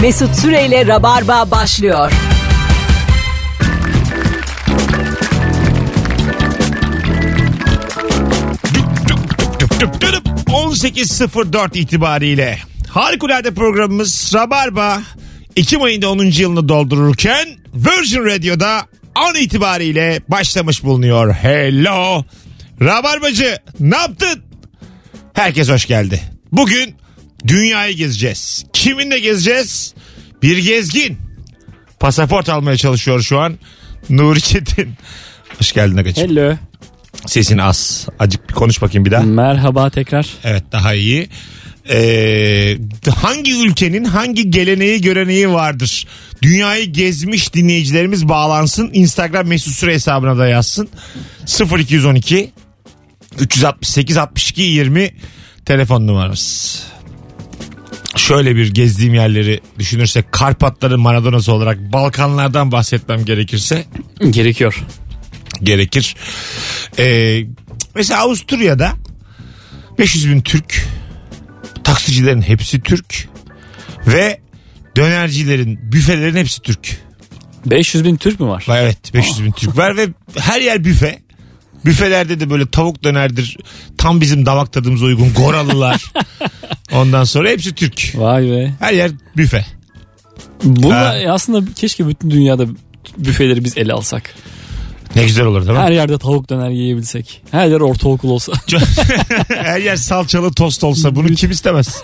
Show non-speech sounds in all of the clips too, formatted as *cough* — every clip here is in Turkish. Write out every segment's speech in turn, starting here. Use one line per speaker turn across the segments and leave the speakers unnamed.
Mesut Süreyle Rabarba başlıyor.
Tüp tüp tüp. 18.04 itibariyle harikulade programımız Rabarba Ekim ayında 10. yılını doldururken Virgin Radio'da an itibariyle başlamış bulunuyor. Hello Rabarbacı ne yaptın? Herkes hoş geldi. Bugün dünyayı gezeceğiz. Kiminle gezeceğiz? Bir gezgin. Pasaport almaya çalışıyor şu an. Nuri Çetin. Hoş geldin Agacığım.
Hello.
Sesin az. Acık bir konuş bakayım bir daha.
Merhaba tekrar.
Evet daha iyi. Ee, hangi ülkenin hangi geleneği göreneği vardır? Dünyayı gezmiş dinleyicilerimiz bağlansın. Instagram mesut süre hesabına da yazsın. 0212 368 62 20 telefon numaramız. Şöyle bir gezdiğim yerleri düşünürsek Karpatların Maradona'sı olarak Balkanlardan bahsetmem gerekirse
Gerekiyor.
gerekir. Ee, mesela Avusturya'da 500 bin Türk, taksicilerin hepsi Türk ve dönercilerin, büfelerin hepsi Türk.
500 bin Türk mü var?
Vay Evet 500 bin Türk var ve her yer büfe. Büfelerde de böyle tavuk dönerdir. Tam bizim damak tadımıza uygun goralılar. Ondan sonra hepsi Türk.
Vay be.
Her yer büfe. Ha.
Bunlar aslında keşke bütün dünyada büfeleri biz ele alsak.
Ne güzel olur değil mi?
Her yerde tavuk döner yiyebilsek. Her yer ortaokul olsa. *laughs*
Her yer salçalı tost olsa bunu kim istemez?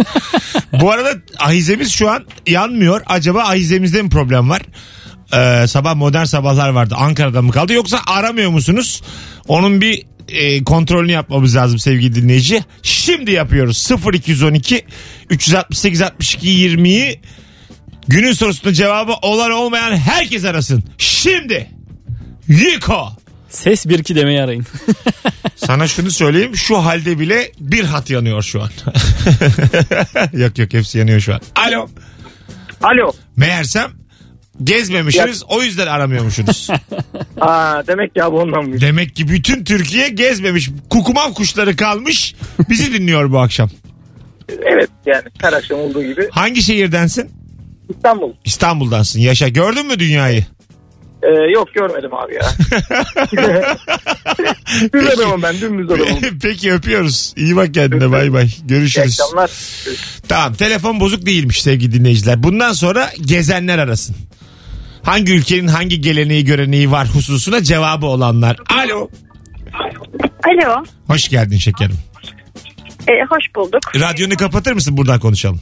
Bu arada ahizemiz şu an yanmıyor. Acaba ahizemizde mi problem var? Ee, sabah modern sabahlar vardı. Ankara'da mı kaldı yoksa aramıyor musunuz? Onun bir e, kontrolünü yapmamız lazım sevgili dinleyici. Şimdi yapıyoruz. 0212 368 62 20'yi günün sorusunda cevabı olan olmayan herkes arasın. Şimdi Yiko
Ses bir iki demeyi arayın.
sana şunu söyleyeyim şu halde bile bir hat yanıyor şu an. *laughs* yok yok hepsi yanıyor şu an. Alo.
Alo.
Meğersem gezmemişsiniz o
*laughs*
yüzden aramıyormuşsunuz.
Aa, demek ya bu
*laughs*
ondanmış.
Demek ki bütün Türkiye gezmemiş. Kukumav kuşları kalmış bizi dinliyor bu akşam.
Evet yani her akşam olduğu gibi
Hangi şehirdensin?
İstanbul.
İstanbul'dansın. Yaşa gördün mü dünyayı?
Ee, yok görmedim abi ya. Düz adamım ben dümdüz adamım.
*laughs* Peki öpüyoruz. İyi bak kendine bay bay.
İyi
Görüşürüz.
akşamlar.
Tamam telefon bozuk değilmiş sevgili dinleyiciler. Bundan sonra gezenler arasın. Hangi ülkenin hangi geleneği göreneği var hususuna cevabı olanlar. Alo.
Alo,
Hoş geldin şekerim.
e, hoş bulduk.
Radyonu kapatır mısın buradan konuşalım.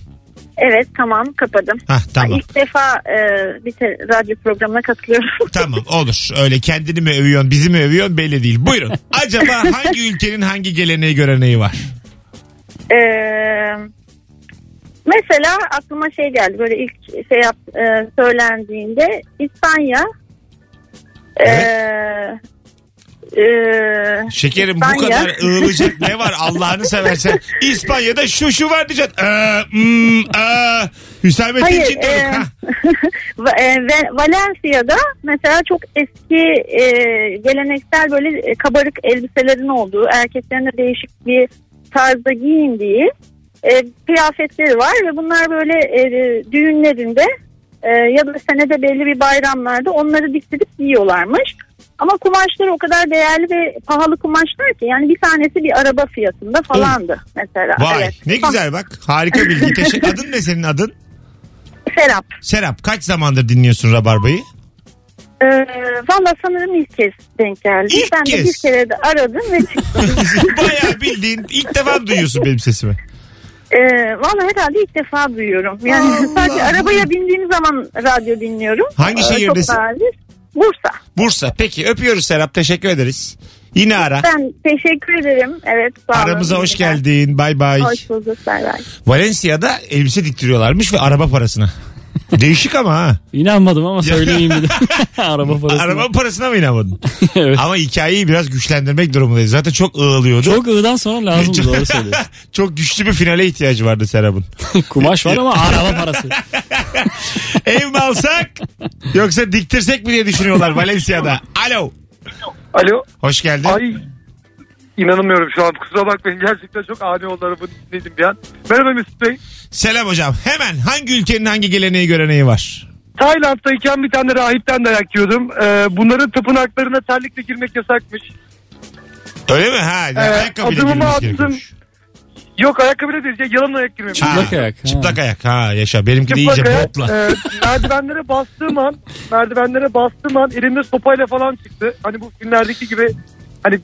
Evet, tamam kapadım.
Hah tamam.
İlk defa e, bir te- radyo programına katılıyorum. *laughs*
Tamam olur. Öyle kendini mi övüyorsun bizi mi övüyorsun belli değil. Buyurun. Acaba hangi ülkenin hangi geleneği göreneği var?
E, mesela aklıma şey geldi, böyle ilk şey yap, e, söylendiğinde İspanya. e, e,
Şekerim bu
İspanya.
kadar ığılacak ne var Allah'ını seversen. İspanya'da şu şu var diyeceksin. Ee, hmm, ee. Hüsamettin
Hayır,
Çin diyorduk,
e,
ha.
*laughs* Va- e, Ve- Valencia'da mesela çok eski e, geleneksel böyle e, kabarık elbiselerin olduğu, erkeklerin de değişik bir tarzda giyindiği e, kıyafetleri var ve bunlar böyle e, düğünlerinde e, ya da senede belli bir bayramlarda onları diktirip giyiyorlarmış. Ama kumaşları o kadar değerli ve pahalı kumaşlar ki yani bir tanesi bir araba fiyatında falandı mesela.
Oh. Vay
Evet.
ne güzel bak harika bilgi. Teşekkür. Adın ne senin adın?
Serap.
Serap kaç zamandır dinliyorsun Rabarba'yı?
Ee, Valla sanırım ilk kez denk geldi.
İlk
ben
kez.
de bir kere de aradım ve çıktım.
*laughs* Bayağı bildiğin ilk defa mı duyuyorsun benim sesimi.
ee, Valla herhalde ilk defa duyuyorum. Yani
Allah
sadece
Allah.
arabaya bindiğim zaman radyo dinliyorum. Ee,
Hangi şehirdesin?
Çok nadir. Bursa.
Bursa peki öpüyoruz Serap teşekkür ederiz. Yine ara.
Ben teşekkür ederim. Evet sağ olun.
Aramıza hoş
İyi günler.
geldin bay bay.
Hoş bulduk. Bay bay.
Valencia'da elbise diktiriyorlarmış ve araba parasına. Değişik ama ha.
İnanmadım ama söyleyeyim
*laughs*
dedim. Araba parası.
Araba parasına mı inanmadın?
Evet.
Ama hikayeyi biraz güçlendirmek durumundayız. Zaten çok ağlıyordu. Çok...
Çok ığdan sonra lazım
*laughs*
doğru söylüyorsun.
güçlü bir finale ihtiyacı vardı Serap'ın.
Kumaş var ama araba parası.
*laughs* Ev mi alsak yoksa diktirsek mi diye düşünüyorlar Valencia'da. Alo.
Alo.
Hoş geldin.
Ay İnanamıyorum şu an kusura bakmayın gerçekten çok ani oldu arabanın içindeydim bir an. Merhaba Mesut Bey.
Selam hocam. Hemen hangi ülkenin hangi geleneği göreneği var?
Tayland'dayken bir tane rahipten dayak yiyordum. Ee, bunların tapınaklarına terlikle girmek yasakmış.
Öyle mi? Ha, ayakkabıyla
Ee, adımımı
girmesi
attım.
gerekiyormuş.
Yok ayakkabıyla değil ya, yalan ayak girmemiş.
Ha,
Çıplak ayak, ha.
Çıplak ayak. Ha yaşa. Benimki de iyice
Çıplak ayak,
botla.
e, merdivenlere bastığım an, merdivenlere bastığım an elimde sopayla falan çıktı. Hani bu filmlerdeki gibi hani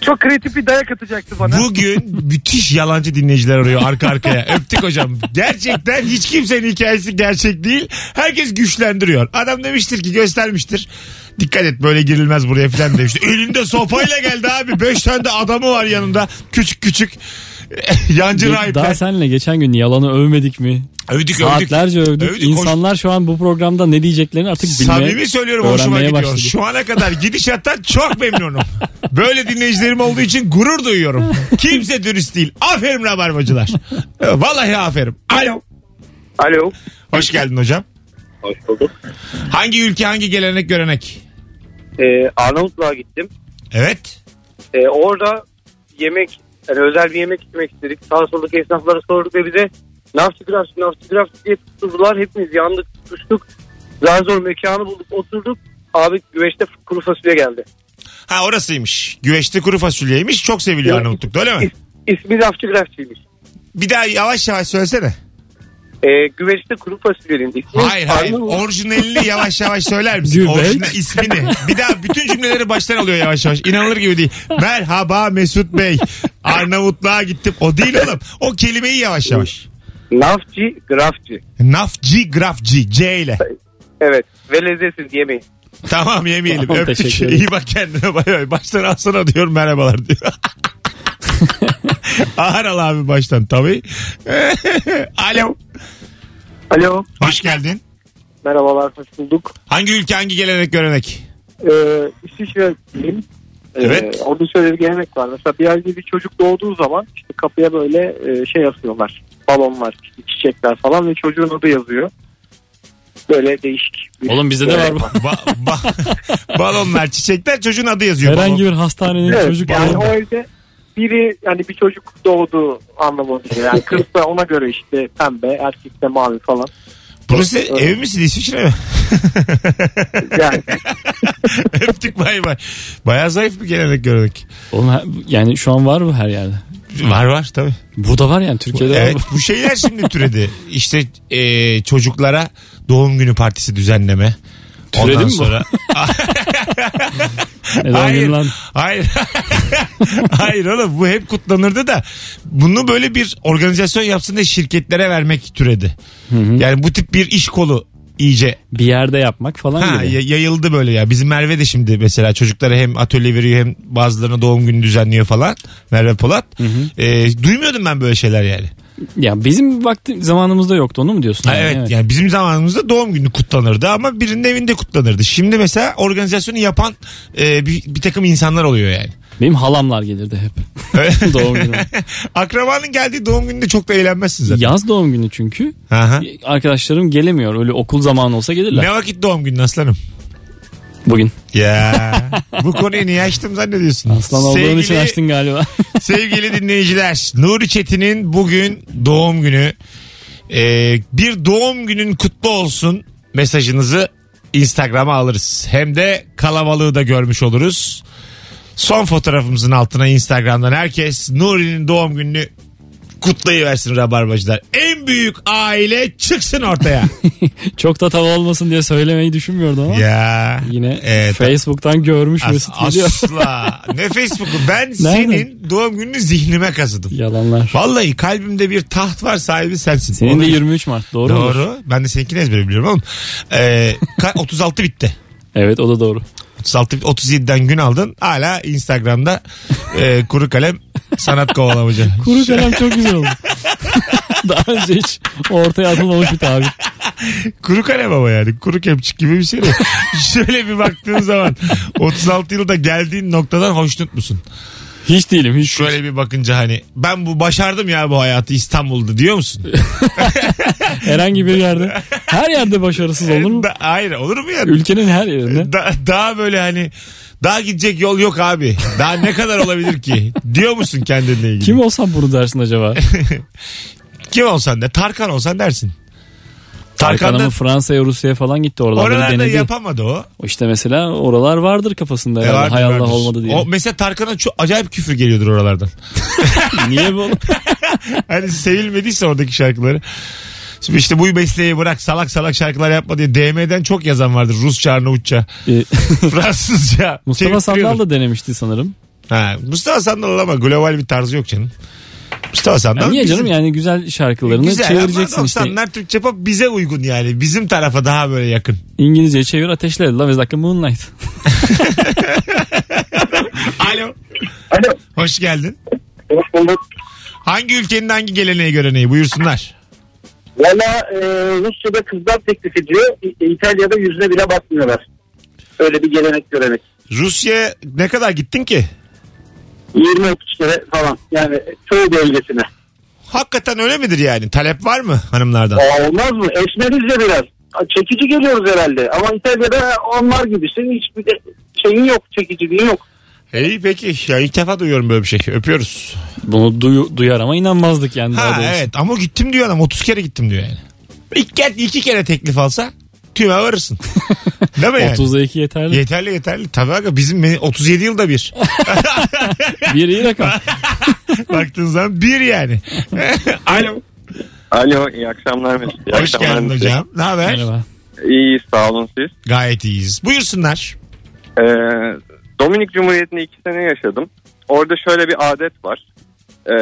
çok kreatif bir dayak atacaktı bana.
Bugün müthiş yalancı dinleyiciler arıyor
*laughs*
arka arkaya. Öptük hocam. Gerçekten hiç kimsenin hikayesi gerçek değil. Herkes güçlendiriyor. Adam demiştir ki göstermiştir. Dikkat et böyle girilmez buraya
*laughs*
falan demiştir. Elinde sopayla geldi abi. Beş tane de adamı var yanında. Küçük küçük. *laughs* Yancı
Ge-
rahipler.
Daha senle geçen gün yalanı övmedik mi?
Övdük övdük.
Saatlerce övdük.
Övdük, hoş-
İnsanlar şu an bu programda ne diyeceklerini artık bilmeye
Samimi söylüyorum hoşuma
öğrenmeye
gidiyor.
başladı.
Şu ana kadar gidişattan çok memnunum. Böyle dinleyicilerim olduğu için gurur duyuyorum. Kimse dürüst değil. Aferin rabarbacılar. Ee, Vallahi aferin. Alo.
Alo.
Hoş geldin hocam.
Hoş bulduk.
Hangi ülke hangi gelenek görenek?
Ee, Arnavutluğa gittim.
Evet.
Ee, orada yemek, yani özel bir yemek yemek istedik. Sağ soldaki esnaflara sorduk ve bize nafsi grafsi, nafsi grafsi diye tutturdular. Hepimiz yandık, tutuştuk. Zar zor mekanı bulduk, oturduk. Abi güveçte kuru fasulye geldi.
Ha orasıymış. Güveçte kuru fasulyeymiş. Çok seviliyor Arnavutluk'ta öyle mi?
İsmi nafsi grafsiymiş.
Bir daha yavaş yavaş söylesene.
Ee, güveçte kuru fasulyenin ismi.
Hayır hayır.
Arnavut-
Orijinalini yavaş yavaş söyler misin?
Güveç.
Orijinal ismini. Bir daha bütün cümleleri baştan alıyor yavaş yavaş. İnanılır gibi değil. Merhaba Mesut Bey. Arnavutluğa gittim. O değil oğlum. O kelimeyi yavaş yavaş.
Nafci grafçı.
Nafci grafci. C ile.
Evet. Ve lezzetsiz yemeği.
Tamam yemeyelim.
Tamam,
Öptük.
teşekkür ederim.
İyi bak kendine. Bay bay. Baştan alsana diyor merhabalar
*laughs*
diyor. Ağır al abi baştan tabii. *laughs* Alo.
Alo.
Hoş geldin.
Merhabalar. Hoş bulduk.
Hangi ülke hangi gelenek görenek?
Ee, İsviçre'deyim. Ee,
Evet.
Orada şöyle bir gelenek var. Mesela bir yerde bir çocuk doğduğu zaman işte kapıya böyle e, şey asıyorlar. Balon var, işte çiçekler falan ve çocuğun adı yazıyor. Böyle değişik. Bir
Oğlum bizde de var bu.
Ba- ba- *laughs* balonlar, çiçekler çocuğun adı yazıyor.
Herhangi
Balon-
bir hastanenin
şey. Evet,
çocuk
yani
doğum-
o evde biri yani bir çocuk doğduğu anlamı oluyor. Yani kızsa ona göre işte pembe, erkekte mavi falan.
Burası ev misin İsviçre mi? *laughs*
Yani
Öptük bay bay. Bayağı zayıf bir gelenek görenek.
Oğlum her- yani şu an var mı her yerde?
Var var tabii.
Burada var yani Türkiye'de var
Evet
bu.
bu şeyler şimdi türedi. İşte e, çocuklara doğum günü partisi düzenleme.
Türedi mi bu? *laughs* Neden
Hayır.
lan?
Hayır. *laughs* Hayır oğlum bu hep kutlanırdı da bunu böyle bir organizasyon yapsın da şirketlere vermek türedi. Yani bu tip bir iş kolu iyice
Bir yerde yapmak falan
ha,
gibi.
ya- yayıldı böyle ya. Bizim Merve de şimdi mesela çocuklara hem atölye veriyor hem bazılarına doğum günü düzenliyor falan. Merve Polat. E, duymuyordum ben böyle şeyler yani.
Ya bizim vakti zamanımızda yoktu onu mu diyorsun?
Ha,
Yani?
evet, yani bizim zamanımızda doğum günü kutlanırdı ama birinin evinde kutlanırdı. Şimdi mesela organizasyonu yapan e, bir, bir takım insanlar oluyor yani.
Benim halamlar gelirdi hep. *laughs* doğum
*laughs*
günü.
Akrabanın geldiği doğum gününde çok da eğlenmezsin zaten.
Yaz doğum günü çünkü.
Aha.
Arkadaşlarım gelemiyor. Öyle okul zamanı olsa gelirler.
Ne vakit doğum günün aslanım?
Bugün.
*laughs* Ya bu konuyu niye açtım zannediyorsun?
Aslan olduğun
Sevgili-
için açtın galiba. *laughs*
Sevgili dinleyiciler Nuri Çetin'in bugün doğum günü Ee, bir doğum günün kutlu olsun mesajınızı Instagram'a alırız. Hem de kalabalığı da görmüş oluruz. Son fotoğrafımızın altına Instagram'dan herkes Nuri'nin doğum gününü kutlayıversin Rabarbacılar. En büyük aile
*laughs*
çıksın ortaya.
Çok da tava olmasın diye söylemeyi düşünmüyordum ama.
ya.
Yine
Ee,
Facebook'tan görmüş
As-
Mesut geliyor.
asla. ne Facebook'u. Ben senin doğum gününü zihnime kazıdım.
*laughs* Yalanlar.
Vallahi kalbimde bir taht var sahibi sensin.
Senin
Onu-
de 23 Mart doğru, mu?
Doğru. Ben de seninkini ezbere biliyorum oğlum. Ee, ka- *laughs* 36 bitti.
Evet o da doğru.
36 bit- 37'den gün aldın. Hala Instagram'da e, kuru kalem sanat kovalamacı.
*laughs* Kuru kalem çok güzel oldu. *laughs* Daha önce hiç ortaya atılmamış bir tabir.
kuru kalem ama yani. Kuru kepçik gibi bir
*laughs*
şey de. Şöyle bir baktığın zaman 36 yılda geldiğin noktadan hoşnut musun?
Hiç değilim hiç.
Şöyle bir bakınca hani ben bu başardım ya bu hayatı İstanbul'da diyor musun?
Herhangi bir yerde. Her yerde başarısız olur.
Da- hayır olur mu ya?
Ülkenin her yerinde.
Da- daha böyle hani Daha gidecek yol yok abi. Daha ne kadar olabilir ki? *laughs* Diyor musun kendinle ilgili?
Kim olsam bunu dersin
*laughs*
acaba?
Kim olsan da Tarkan olsan dersin.
Tarkan
Tarkan'da
Hanım Fransa'ya Rusya'ya falan gitti oralarda bir
oralarda
denedi.
yapamadı o.
işte mesela oralar vardır kafasında.
E,
herhalde.
vardır,
Hay Allah
vardır.
olmadı diye.
O, mesela Tarkan'a çok acayip küfür geliyordur oralardan.
*laughs*
*laughs*
Niye bu? oğlum? E,
Hani sevilmediyse oradaki şarkıları. Şimdi işte bu mesleği bırak salak salak şarkılar yapma diye DM'den çok yazan vardır. Rusça, Arnavutça, *laughs*
E,
Fransızca.
Mustafa Sandal
Çevirtiriyordur.
da denemişti sanırım.
Ha, Mustafa Sandal ama global bir tarzı yok canım. Mustafa Sandal.
Ya niye
bizim-
canım yani güzel şarkılarını
E, Güzel
çevireceksin
ama
işte.
90'lar Türkçe pop bize uygun yani. Bizim tarafa daha böyle yakın. *laughs*
İngilizce çevir ateşle. La bir dakika Moonlight.
Alo.
Alo.
Hoş geldin.
Hoş bulduk.
Hangi ülkenin hangi geleneği göreneği buyursunlar.
Valla e, Rusya'da kızlar teklif ediyor. İ- İtalya'da yüzüne bile bakmıyorlar. Öyle bir gelenek görenek.
Rusya ne kadar gittin ki?
20-30 kere falan. Yani çoğu bölgesine.
Hakikaten öyle midir yani? Talep var mı hanımlardan?
Aa, olmaz mı? Esmeriz de biraz. Çekici geliyoruz herhalde. Ama İtalya'da onlar gibisin. Hiçbir de şeyin yok. Çekiciliğin yok.
İyi peki. Ya ilk defa duyuyorum böyle bir şey. Öpüyoruz.
Bunu duyu- duyar ama inanmazdık yani. daha
Ha
doğrusu.
evet ama gittim diyor adam. 30 kere gittim diyor yani. İlk kere, iki kere teklif alsa tüme
*laughs*
varırsın. Değil mi yani?
30'da 2 yeterli.
Yeterli yeterli. Tabii aga bizim me- 37
*laughs*
yılda bir.
bir iyi *laughs* rakam.
Baktığın zaman bir yani. Alo.
Alo iyi akşamlar Mesut. İyi
Hoş
akşamlar
geldin
Mesut.
hocam. Ne haber?
Merhaba.
İyi sağ olun siz.
Gayet iyiyiz. Buyursunlar.
Ee, Dominik Cumhuriyeti'nde iki sene yaşadım. Orada şöyle bir adet var. Ee,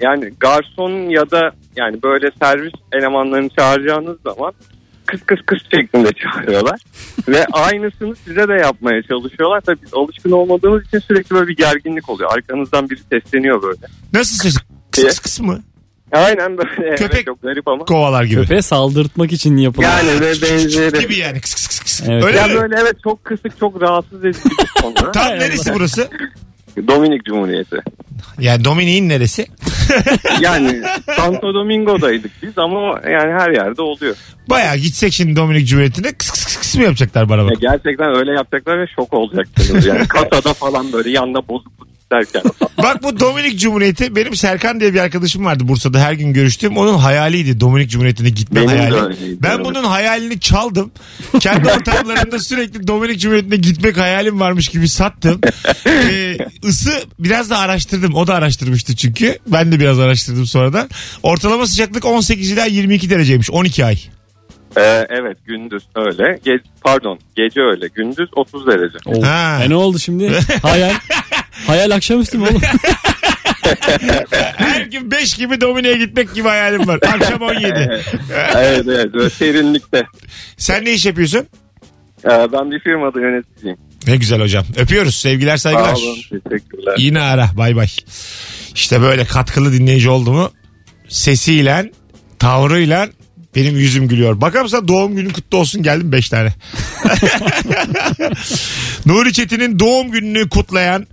yani garson ya da yani böyle servis elemanlarını çağıracağınız zaman kıs kıs kıs şeklinde
*laughs*
çağırıyorlar. Ve aynısını size de yapmaya çalışıyorlar. Tabii biz alışkın olmadığımız için sürekli böyle bir gerginlik oluyor. Arkanızdan biri sesleniyor böyle.
Nasıl ses? Kıs kıs kıs mı?
Aynen böyle.
Köpek-
Evet, çok garip ama.
Kovalar gibi.
Köpeğe saldırtmak için yapılan.
Yani ve benzeri.
Gibi yani. Kıs kıs kıs kıs.
Evet.
Öyle
Ya
mi?
böyle evet çok kısık çok rahatsız edici bir konu.
*laughs* Tam neresi burası?
Dominik Cumhuriyeti.
Yani Dominik'in neresi?
Yani Santo Domingo'daydık biz ama yani her yerde oluyor.
Bayağı gitsek şimdi Dominik Cumhuriyeti'ne kıs kıs kıs kıs mı yapacaklar bana
Ya
bak.
gerçekten öyle yapacaklar ve şok olacaksınız.
*laughs*
Yani kasada falan böyle yanda bozukluk derken.
Bak bu Dominik Cumhuriyeti benim Serkan diye bir arkadaşım vardı Bursa'da her gün görüştüğüm. Onun hayaliydi Dominik Cumhuriyeti'ne gitme
Benim de
hayali.
öyleydi,
ben
evet.
bunun hayalini çaldım. Kendi ortamlarında sürekli Dominik Cumhuriyeti'ne gitmek hayalim varmış gibi sattım.
*laughs*
Ee, ısı biraz da araştırdım. O da araştırmıştı çünkü. Ben de biraz araştırdım sonradan. Ortalama sıcaklık 18 ila 22 dereceymiş. 12 ay.
Ee, evet gündüz öyle. Ge- pardon gece öyle. Gündüz 30 derece.
Oo.
Ha.
E ne oldu *laughs* şimdi? Hayal. Hayal akşamüstü mü *laughs* oğlum?
Her
*laughs*
gün 5 gibi Dominik'e gitmek gibi hayalim var.
*laughs*
Akşam 17.
evet evet böyle serinlikte.
Sen ne iş yapıyorsun?
Ee, ben bir firmada yöneticiyim.
Ne güzel hocam. Öpüyoruz. Sevgiler
Sağ
saygılar.
olun teşekkürler.
Yine ara. Bay bay. İşte böyle katkılı dinleyici oldu mu sesiyle, tavrıyla benim yüzüm gülüyor. Bakalım sana doğum günün kutlu olsun geldim 5 tane. Nuri Çetin'in doğum gününü kutlayan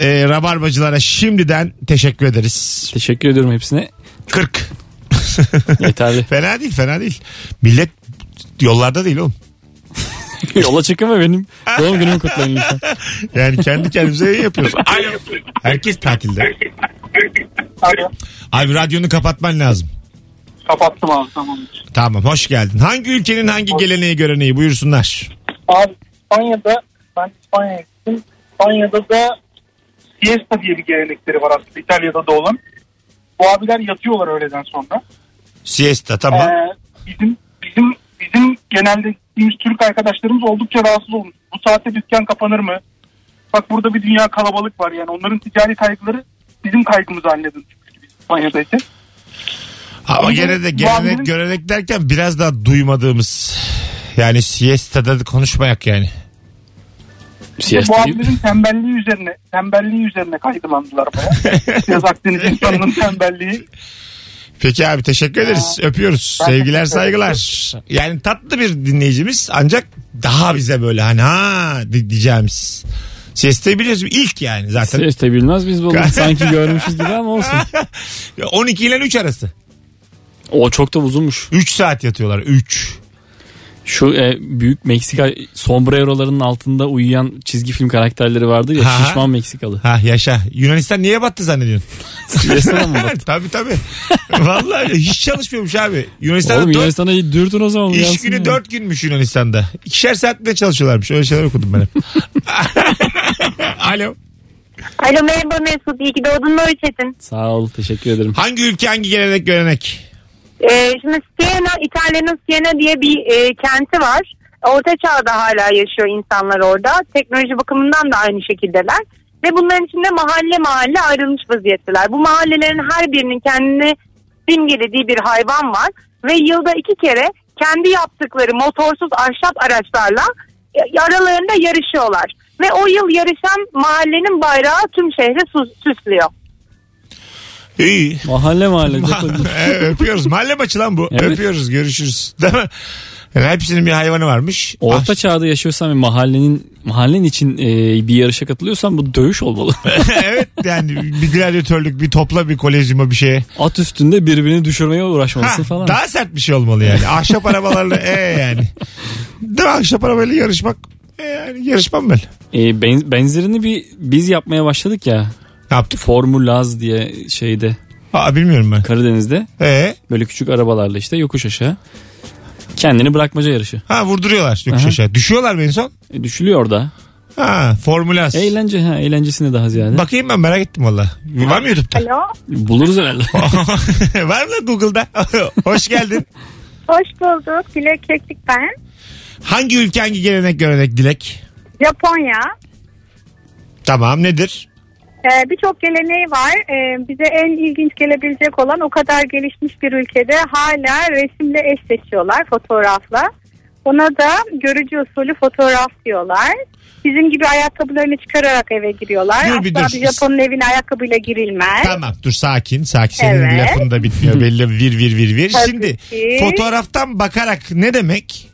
e, Rabarbacılara şimdiden teşekkür ederiz.
Teşekkür ediyorum hepsine.
40.
*laughs* Yeterli.
Fena değil fena değil. Millet yollarda değil oğlum.
Yola çıkın ve benim doğum günümü kutlayın *laughs* lütfen.
Yani kendi kendimize yayın yapıyoruz. Alo. Herkes tatilde.
Alo.
Abi radyonu kapatman lazım.
Kapattım abi tamam.
Tamam hoş geldin. Hangi ülkenin hangi geleneği göreneği buyursunlar.
Abi İspanya'da ben İspanya'ya gittim. İspanya'da da siesta diye bir gelenekleri var aslında İtalya'da da olan. Bu abiler yatıyorlar öğleden sonra.
Siesta tamam.
Ee, bizim bizim bizim genelde gittiğimiz Türk arkadaşlarımız oldukça rahatsız olmuş. Bu saatte dükkan kapanır mı? Bak burada bir dünya kalabalık var yani. Onların ticari kaygıları bizim kaygımız halledin. İspanya'da ise.
Ama gene de gelenek
Muhammed'in-
görenek derken biraz daha duymadığımız. Yani siesta'da da konuşmayak yani.
Bu
Siyasi.
abilerin tembelliği üzerine tembelliği üzerine kaygılandılar baya. Biraz Akdeniz insanının tembelliği.
Peki abi teşekkür ederiz. Öpüyoruz.
Ee, Ben
Sevgiler
teşekkür
saygılar. Yani tatlı bir dinleyicimiz ancak daha bize böyle hani ha di- diyeceğimiz. Siesta'yı biliyoruz ilk yani zaten.
Siyasi bilmez biz bunu. *laughs* Sanki görmüşüz gibi ama olsun.
12 ile 3 arası.
*laughs* O çok da uzunmuş.
3 saat yatıyorlar 3.
Şu e, büyük Meksika sombrerolarının altında uyuyan çizgi film karakterleri vardı ya
Ha.
şişman *laughs* Meksikalı.
Ha yaşa. Yunanistan niye battı zannediyorsun?
Yesene mi bak?
*laughs* tabii
*laughs*
tabii. Vallahi hiç çalışmıyormuş abi. Yunanistan'da
Oğlum
dört-
Yunanistan'a dürtün o zaman.
İş
uyansın
günü
ya.
dört günmüş Yunanistan'da. İkişer saatte çalışıyorlarmış. Öyle şeyler okudum ben hep. *laughs* Alo.
Alo merhaba Mesut. İyi ki doğdun Nuri Çetin.
Sağ ol teşekkür ederim.
Hangi ülke hangi gelenek görenek?
Ee, şimdi Siena, İtalya'nın Siena diye bir e, kenti var. Orta çağda hala yaşıyor insanlar orada. Teknoloji bakımından da aynı şekildeler. Ve bunların içinde mahalle mahalle ayrılmış vaziyetteler. Bu mahallelerin her birinin kendini simgelediği bir hayvan var. Ve yılda iki kere kendi yaptıkları motorsuz ahşap araçlarla e, aralarında yarışıyorlar. Ve o yıl yarışan mahallenin bayrağı tüm şehri su- süslüyor.
İyi. *laughs*
Mahalle mahalle.
Ee, Öpüyoruz. Mahalle maçı lan bu.
Evet.
Öpüyoruz. Görüşürüz. Değil mi? Yani hepsinin bir hayvanı varmış.
Orta çağda yaşıyorsan ve mahallenin mahallen için e, bir yarışa katılıyorsan bu dövüş olmalı.
*laughs* evet yani bir gladyatörlük, bir topla, bir kolezyuma bir şeye.
*laughs* At üstünde birbirini düşürmeye uğraşması
Ha,
falan.
Daha sert bir şey olmalı yani. Ahşap arabalarla e yani. Değil mi? Ahşap arabayla yarışmak. E yani yarışmam ben.
E, ben- benzerini bir biz yapmaya başladık ya.
Ne yaptık?
Formulaz diye şeyde
Aa, bilmiyorum ben.
Karadeniz'de
E
böyle küçük arabalarla işte yokuş aşağı. Kendini bırakmaca yarışı.
ha vurduruyorlar yokuş
Aha.
aşağı. Düşüyorlar mı en son?
E, düşülüyor da.
Ha formülas.
Eğlence ha eğlencesine daha ziyade.
Bakayım ben merak ettim valla. Var mı YouTube'da?
Alo.
Buluruz herhalde.
*laughs* Var mı lan Google'da? *laughs* Hoş geldin.
Hoş bulduk. Dilek Keklik ben.
Hangi ülke hangi gelenek görenek dilek?
Japonya.
Tamam nedir?
Ee, Birçok geleneği var. Ee, bize en ilginç gelebilecek olan o kadar gelişmiş bir ülkede hala resimle eş seçiyorlar fotoğrafla. Ona da görücü usulü fotoğraf diyorlar. Bizim gibi ayakkabılarını çıkararak eve giriyorlar.
Dur bir
Asla
dur.
bir Japon'un evine ayakkabıyla girilmez.
Tamam dur sakin sakin. Senin
Evet.
lafın da bitmiyor belli vir vir vir vir.
Tabii
Şimdi
ki.
fotoğraftan bakarak ne demek?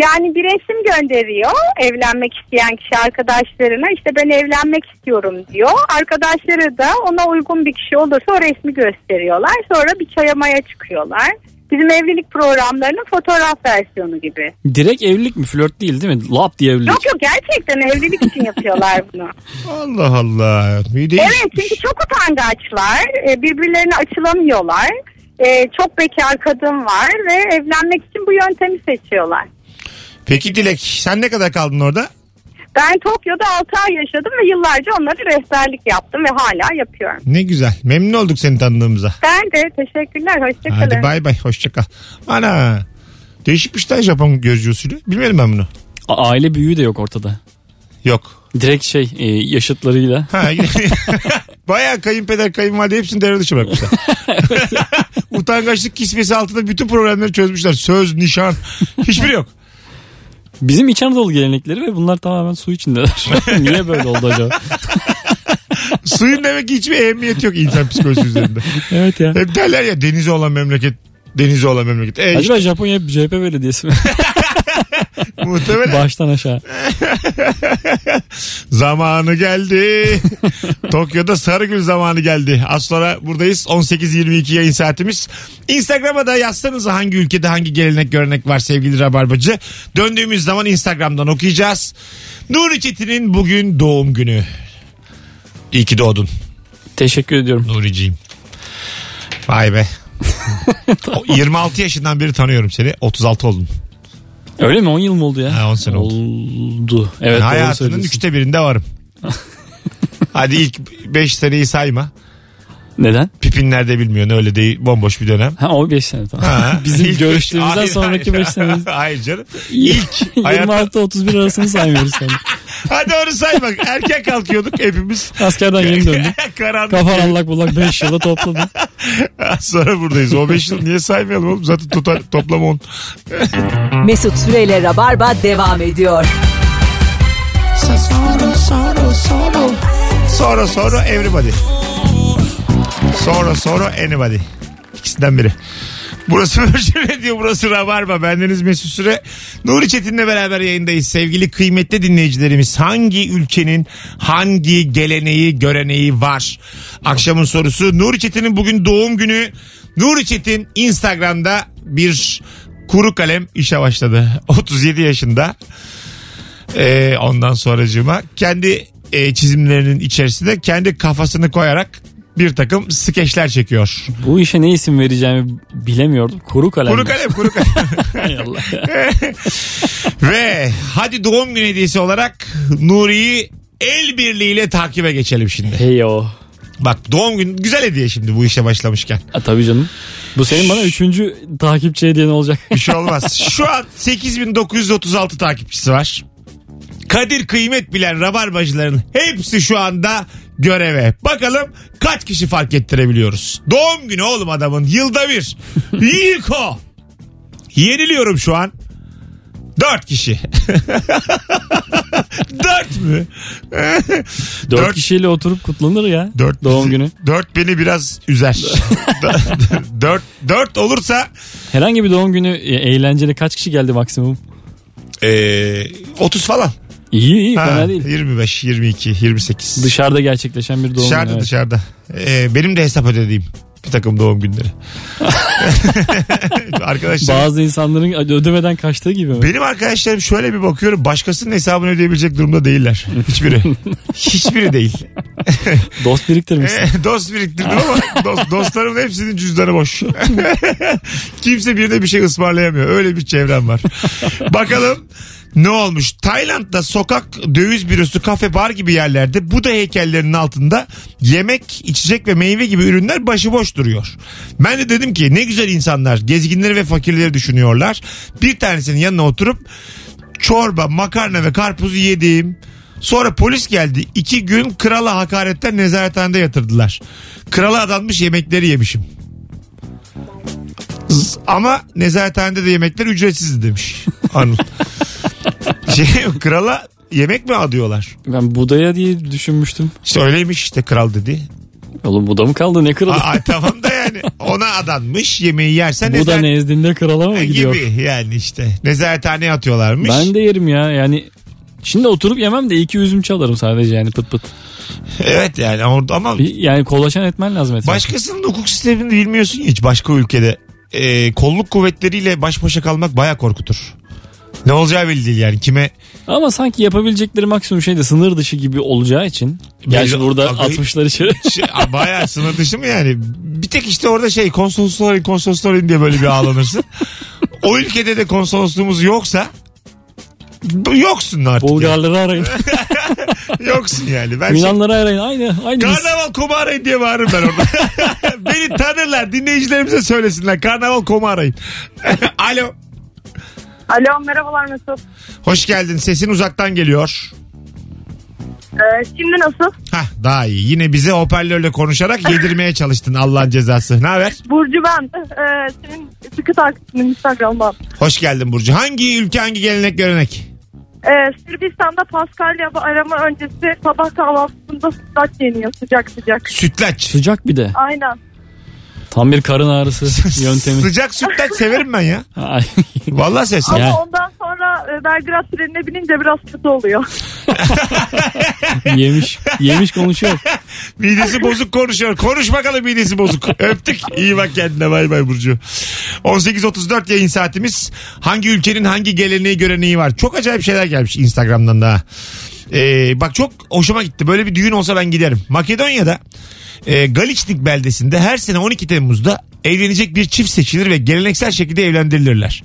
Yani bir resim gönderiyor evlenmek isteyen kişi arkadaşlarına işte ben evlenmek istiyorum diyor. Arkadaşları da ona uygun bir kişi olursa o resmi gösteriyorlar. Sonra bir çayamaya çıkıyorlar. Bizim evlilik programlarının fotoğraf versiyonu gibi.
Direkt evlilik mi? Flört değil değil mi? Lap diye evlilik.
Yok yok gerçekten evlilik için yapıyorlar bunu.
Allah Allah. İyi değilmiş.
Evet çünkü çok utangaçlar. e, Birbirlerine açılamıyorlar. E, Çok bekar kadın var ve evlenmek için bu yöntemi seçiyorlar.
Peki Dilek sen ne kadar kaldın orada?
Ben Tokyo'da 6 ay yaşadım ve yıllarca onlara rehberlik yaptım ve hala yapıyorum.
Ne güzel. Memnun olduk seni tanıdığımıza.
Ben de teşekkürler.
Hadi
Hoşçakalın.
bay bay hoşça kal. Ana. Değişikmiş lan Japon gözcü usulü. Bilmiyorum ben bunu.
A- Aile büyüğü de yok ortada.
Yok.
Direkt şey e, yaşıtlarıyla.
Ha. *laughs* Bayağı kayınpeder kayınvalide hepsini devre dışı bırakmışlar. Utangaçlık kisvesi altında bütün problemleri çözmüşler. Söz, nişan. Hiçbiri yok.
Bizim İç Anadolu gelenekleri ve bunlar tamamen su
*laughs*
içindeler. *laughs* Niye böyle oldu acaba?
Suyun demek ki hiçbir ehemmiyeti yok insan psikolojisi üzerinde.
Evet ya.
Hep derler ya denizi olan memleket denizi olan memleket. E,
Acaba Japonya CHP belediyesi mi? *laughs*
muhtemelen
Baştan aşağı.
zamanı geldi. Tokyo'da Sarıgül zamanı geldi. Az sonra buradayız. 18.22 yayın saatimiz. Instagram'a da yazsanız hangi ülkede hangi gelenek görenek var sevgili Rabarbacı. Döndüğümüz zaman Instagram'dan okuyacağız. Nuri Çetin'in bugün doğum günü. İyi ki doğdun
Teşekkür ediyorum.
Nuriciğim. Vay be. O 26 yaşından beri tanıyorum seni. 36 oldun.
Öyle mi? 10 yıl mı oldu ya?
Ha, 10 sene oldu.
Oldu. Evet doğru
Hayatının
söylüyorsun.
üçte birinde varım. Hadi ilk 5 seneyi sayma.
Neden?
Pipinler de bilmiyorsun öyle değil bomboş
*laughs*
bir dönem.
Ha o 5 sene tamam.
Ha, ilk
Bizim
beş-
görüştüğümüzden
Hayır,
sonraki 5
hayır.
sene.
*laughs* Hayır canım.
*laughs*
İlk hayatta.
26-31 arasını saymıyoruz yani.
Hadi onu sayma. Erken kalkıyorduk hepimiz.
Askerden yeni döndüm.
*laughs* Karanlık.
Kafan allak bullak 5 yılda topladım.
Sonra buradayız. O 5 yıl niye saymayalım oğlum? Zaten total, toplam 10.
Mesut Süreyle Rabarba devam ediyor.
Sonra sonra everybody. Sonra sonra anybody. İkisinden biri. Burası *laughs* Virgin Radio, burası Rabarba. Bendeniz Mesut Süre. Nuri Çetin'le beraber yayındayız. Sevgili kıymetli dinleyicilerimiz hangi ülkenin hangi geleneği, göreneği var? Akşamın sorusu Nuri Çetin'in bugün doğum günü. Nuri Çetin Instagram'da bir Kuru kalem işe başladı. *laughs* 37 yaşında. Ee, ondan sonracığıma kendi e, çizimlerinin içerisinde kendi kafasını koyarak bir takım skeçler çekiyor.
Bu işe ne isim vereceğimi bilemiyordum. Kuru kalem.
Kuru kalem, kuru kalem.
Hay
*laughs*
Allah.
Ve hadi doğum günü hediyesi olarak Nuri'yi el birliğiyle takibe geçelim şimdi.
hey o.
Bak doğum günü güzel hediye şimdi bu işe başlamışken.
Ha, tabii canım. Bu senin bana üçüncü takipçi hediyen olacak.
Bir şey olmaz. Şu an 8936 takipçisi var. Kadir kıymet bilen rabarbacıların hepsi şu anda göreve. Bakalım kaç kişi fark ettirebiliyoruz. Doğum günü oğlum adamın yılda bir. Yiko. Yeniliyorum şu an. Dört kişi. *laughs* Dört mü?
Dört, kişiyle oturup kutlanır ya.
Dört
Doğum
*laughs*
günü.
Dört beni biraz üzer. *laughs* dört, dört olursa
Herhangi bir doğum günü e, eğlenceli kaç kişi geldi maksimum?
eee 30 falan.
İyi iyi
Ha,
fena değil.
25, 22, 28.
Dışarıda gerçekleşen bir doğum
dışarıda
günü. evet.
dışarıda. Ee, benim de hesap ödediğim bir takım
*laughs*
doğum günleri. arkadaşlar
Bazı insanların ödemeden kaçtığı gibi mi?
benim arkadaşlarım şöyle bir bakıyorum başkasının hesabını ödeyebilecek durumda değiller.
*laughs*
Hiçbiri. Hiçbiri değil.
Dost biriktirmişsin.
E, dost biriktirdim ama dost, dostlarımın hepsinin cüzdanı boş. *laughs* Kimse birine bir şey ısmarlayamıyor. Öyle bir çevrem var. Bakalım ne olmuş? Tayland'da sokak döviz bürosu, kafe, bar gibi yerlerde Buda heykellerinin altında yemek, içecek ve meyve gibi ürünler başıboş duruyor. Ben de dedim ki ne güzel insanlar gezginleri ve fakirleri düşünüyorlar. Bir tanesinin yanına oturup çorba, makarna ve karpuzu yedim. Sonra polis geldi. İki gün krala hakaretten nezarethanede yatırdılar. Krala adanmış yemekleri yemişim. Z- Ama nezarethanede de yemekler
*laughs*
ücretsizdi demiş Anıl. şey, krala yemek mi adıyorlar?
Ben budaya diye düşünmüştüm.
İşte öyleymiş işte kral dedi.
Oğlum buda mı kaldı ne kralı?
Aa, tamam da yani ona adanmış yemeği yersen
Buda
nezaret-
nezdinde krala mı gidiyor?
gibi yani işte nezarethaneye atıyorlarmış.
Ben de yerim ya yani. Şimdi oturup yemem de iki üzüm çalarım sadece yani pıt pıt.
Evet yani ama- ama
Bir- Yani kolaşan etmen lazım etrafı.
Başkasının hukuk sistemini bilmiyorsun ya hiç başka ülkede. Ee, kolluk kuvvetleriyle baş başa kalmak baya korkutur. Ne olacağı belli değil yani. Kime
Ama sanki yapabilecekleri maksimum şey de sınır dışı gibi olacağı için. Gerçi
Biz-
burada
Abi-
60'ları şey.
şey, bayağı sınır dışı mı yani? Bir tek işte orada şey konsolosluğun konsolosluğun diye böyle bir ağlanırsın. o ülkede de konsolosluğumuz yoksa bu- yoksun artık. yani.
Bulgarları arayın.
*laughs* Yoksun yani. Ben şey-
Yunanları arayın. Aynı. Aynı biz.
Karnaval koma arayın diye bağırırım ben orada. Beni tanırlar. Dinleyicilerimize söylesinler. Karnaval koma arayın. Alo.
Alo merhabalar Mesut.
Hoş geldin. Sesin uzaktan geliyor.
Ee, şimdi nasıl?
Hah daha iyi. Yine bize hoparlörle konuşarak yedirmeye çalıştın Allah'ın cezası. Ne haber?
Burcu ben. Ee, senin sıkı takipçinin Instagram'dan.
Hoş geldin Burcu. Hangi ülke hangi gelenek görenek?
Ee, Sırbistan'da Paskalya arama öncesi sabah kahvaltısında sütlaç yeniyor sıcak sıcak.
Sütlaç.
Sıcak bir de.
Aynen.
Tam bir karın
*laughs*
ağrısı yöntemi.
Sıcak sütlaç severim ben ya.
Ay. *laughs*
Vallahi sevsin.
Ama
Ya.
ondan sonra e, Belgrad trenine binince biraz kötü oluyor.
yemiş. Yemiş konuşuyor.
Midesi bozuk konuşuyor. Konuş bakalım midesi bozuk. Öptük. İyi bak kendine. Bay bay Burcu. 18.34 yayın saatimiz. Hangi ülkenin hangi geleneği göreneği var? Çok acayip şeyler gelmiş Instagram'dan daha. Ee, bak çok hoşuma gitti. Böyle bir düğün olsa ben giderim. Makedonya'da e, Galiçnik beldesinde her sene 12 Temmuz'da evlenecek bir çift seçilir ve geleneksel şekilde evlendirilirler.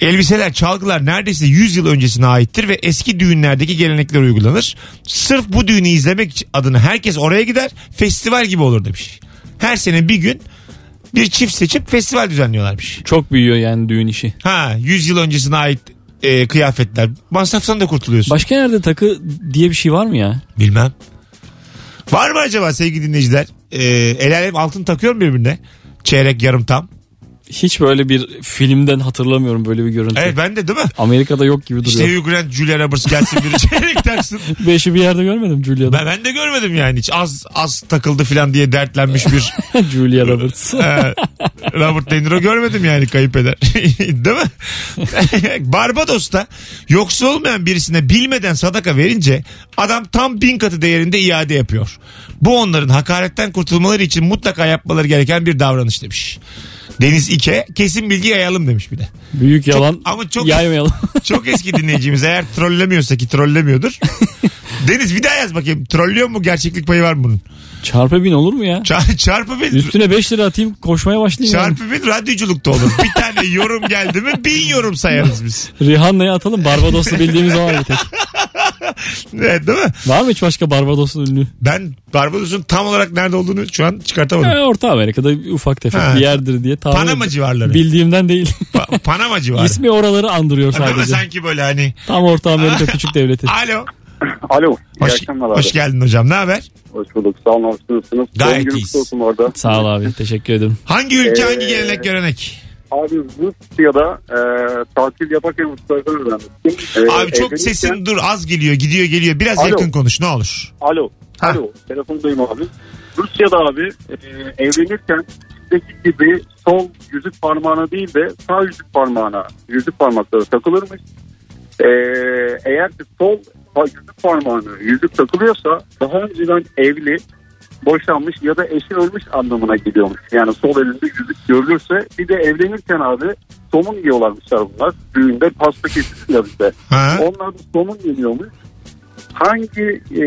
Elbiseler, çalgılar neredeyse 100 yıl öncesine aittir ve eski düğünlerdeki gelenekler uygulanır. Sırf bu düğünü izlemek için- adına herkes oraya gider, festival gibi olur demiş. Her sene bir gün bir çift seçip festival düzenliyorlarmış.
Çok büyüyor yani düğün işi.
Ha, 100 yıl öncesine ait e, kıyafetler. Masraftan da kurtuluyorsun.
Başka yerde takı diye bir şey var mı ya?
Bilmem. Var mı acaba sevgili dinleyiciler? E, el alem altın takıyor mu birbirine? Çeyrek, yarım, tam.
Hiç böyle bir filmden hatırlamıyorum böyle bir görüntü.
Evet ben de değil mi?
Amerika'da yok gibi Şey- duruyor.
İşte Hugh Grant, Julia Roberts gelsin biri çeyrek taksın.
Beşi bir yerde görmedim Julia'da.
Ben, ben de görmedim yani hiç az az takıldı falan diye dertlenmiş bir
*laughs* Julia Roberts.
e, Robert De Niro görmedim yani kayıp eder. *laughs* Değil mi? Barbados'ta yoksul olmayan birisine bilmeden sadaka verince adam tam bin katı değerinde iade yapıyor. Bu onların hakaretten kurtulmaları için mutlaka yapmaları gereken bir davranış demiş. Deniz İke kesin bilgi yayalım demiş bir de.
Büyük yalan
ama çok-
yaymayalım. *laughs*
Çok eski dinleyicimiz eğer trollemiyorsa ki trollemiyordur. Deniz bir daha yaz bakayım. Trollüyor mu gerçeklik payı var mı bunun?
Çarpı bin olur mu ya?
Ça- çarpı bin.
Üstüne 5 lira atayım koşmaya başlayayım. yani.
Çarpı bin radyoculukta olur. Bir tane yorum geldi mi bin yorum sayarız biz.
Rihanna'ya atalım Barbados'u bildiğimiz o var bir tek.
Evet değil mi?
Var mı hiç başka Barbados'un ünlü?
Ben Barbados'un tam olarak nerede olduğunu şu an çıkartamadım.
Ha, Orta Amerika'da bir ufak tefek
Ha.
bir yerdir diye tahmin
Panama civarları.
Bildiğimden değil.
Pa- Panama
*laughs*
civarı.
İsmi oraları andırıyor
Değil mi?
sadece.
Sanki böyle hani.
Tam Orta
*laughs*
Amerika küçük devleti.
Alo.
Alo.
Hoş,
iyi akşamlar abi.
hoş geldin hocam. Ne haber?
Hoş bulduk. Sağ olun. Hoş bulduk.
Gayet
Doğum günüm
iyiyiz.
kutlu olsun orada.
Sağ ol abi teşekkür ederim.
Hangi ülke,
Ee,
hangi gelenek, görenek?
Abi Rusya'da e, tatil yaparken Mustafa'yı öğrenmiştim. E,
Abi çok
evlenirken-
sesin dur az geliyor, gidiyor, geliyor. Biraz
Alo.
yakın konuş ne olur.
Alo.
Ha.
Alo. Telefondayım abi. Rusya'da abi e, evlenirken bizdeki gibi sol yüzük parmağına değil de sağ yüzük parmağına yüzük parmakları takılırmış. E, eğer ki sol pa- yüzük parmağına yüzük takılıyorsa daha önceden evli boşanmış ya da eşi ölmüş anlamına geliyormuş. Yani sol elinde yüzük görülürse bir de evlenirken abi somun yiyorlarmışlar bunlar. Düğünde pasta kesiliyor bize.
Ha?
Onlar da somun yeniyormuş. Hangi e,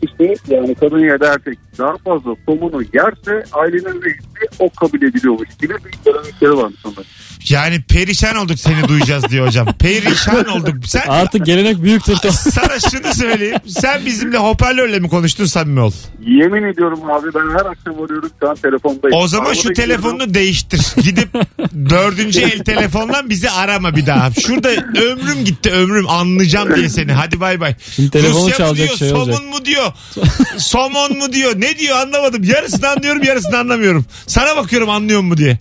kişi yani kadın ya da erkek daha fazla somunu yerse ailenin reisi o kabul ediliyormuş gibi bir gelenekleri varmış onların.
Yani perişan olduk seni duyacağız diyor
*laughs*
hocam. Perişan olduk. Sen
Artık gelenek büyük
*laughs*
tırtı.
sana şunu söyleyeyim. Sen bizimle hoparlörle mi konuştun samimi ol.
Yemin ediyorum abi ben her akşam arıyorum şu an telefondayım.
O zaman şu
Arabada gidiyorum.
telefonunu değiştir. Gidip dördüncü el telefondan bizi arama bir daha. Şurada ömrüm gitti ömrüm anlayacağım diye seni. Hadi bay bay.
Şimdi telefonu
mı
çalacak
diyor,
şey
somun
olacak.
mu diyor, somon mu diyor. Ne diyor anlamadım. Yarısını anlıyorum yarısını anlamıyorum. Sana bakıyorum anlıyor mu diye.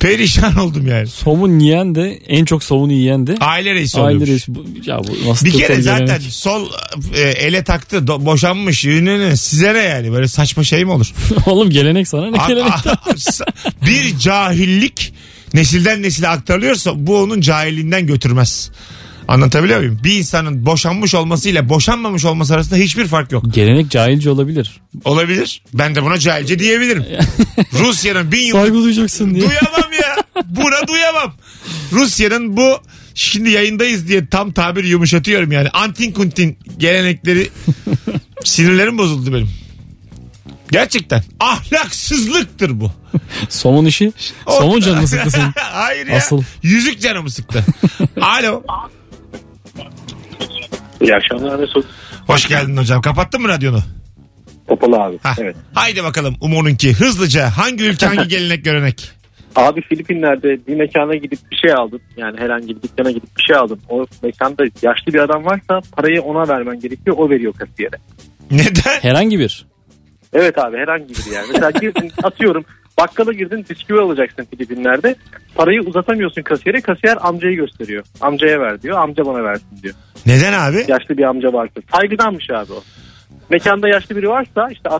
Perişan oldum yani.
Somun yiyen de en çok somunu yiyen de
Aile reisi
aile
oluyormuş.
reisi. Bu- Ya bu nasıl
Bir kere
tırtılı
zaten
gelenek? *laughs*
sol e, ele taktı do- boşanmış yine ne size ne yani böyle saçma şey mi olur?
Oğlum gelenek sana ne
A-
gelenek?
a- sa- bir cahillik nesilden nesile aktarılıyorsa bu onun cahilliğinden götürmez. Anlatabiliyor muyum? Bir insanın boşanmış olmasıyla boşanmamış olması arasında hiçbir fark yok.
Gelenek cahilce olabilir.
Olabilir. Ben de buna cahilce diyebilirim. Rusya'nın bin yıl...
Saygı duyacaksın diye.
duyamam ya. Buna duyamam. Rusya'nın bu şimdi yayındayız diye tam tabir yumuşatıyorum yani. Antin kuntin gelenekleri sinirlerim bozuldu benim. Gerçekten ahlaksızlıktır bu.
Somun işi.
O-
Somun canını
*laughs*
sıkısın.
Hayır ya.
Asıl.
Yüzük
*laughs*
canımı sıktı. Alo.
İyi akşamlar Mesut.
Hoş geldin hocam. Kapattın mı radyonu?
Topal abi.
Hah.
Evet.
Haydi bakalım Umur'unki. Hızlıca hangi ülke
*laughs*
hangi gelenek görenek?
Abi Filipinler'de bir mekana gidip bir şey aldım. Yani herhangi bir dükkana gidip bir şey aldım. O mekanda yaşlı bir adam varsa parayı ona vermen gerekiyor. O veriyor kasiyere.
Neden?
Herhangi bir.
Evet abi herhangi biri yani. Mesela girdin atıyorum bakkala girdin bisküvi alacaksın Filipinler'de. Parayı uzatamıyorsun kasiyere. Kasiyer amcayı gösteriyor. Amcaya ver diyor. Amca bana versin diyor.
Neden abi?
Yaşlı bir amca varsa. Saygıdanmış abi o. Mekanda yaşlı biri varsa işte 60-70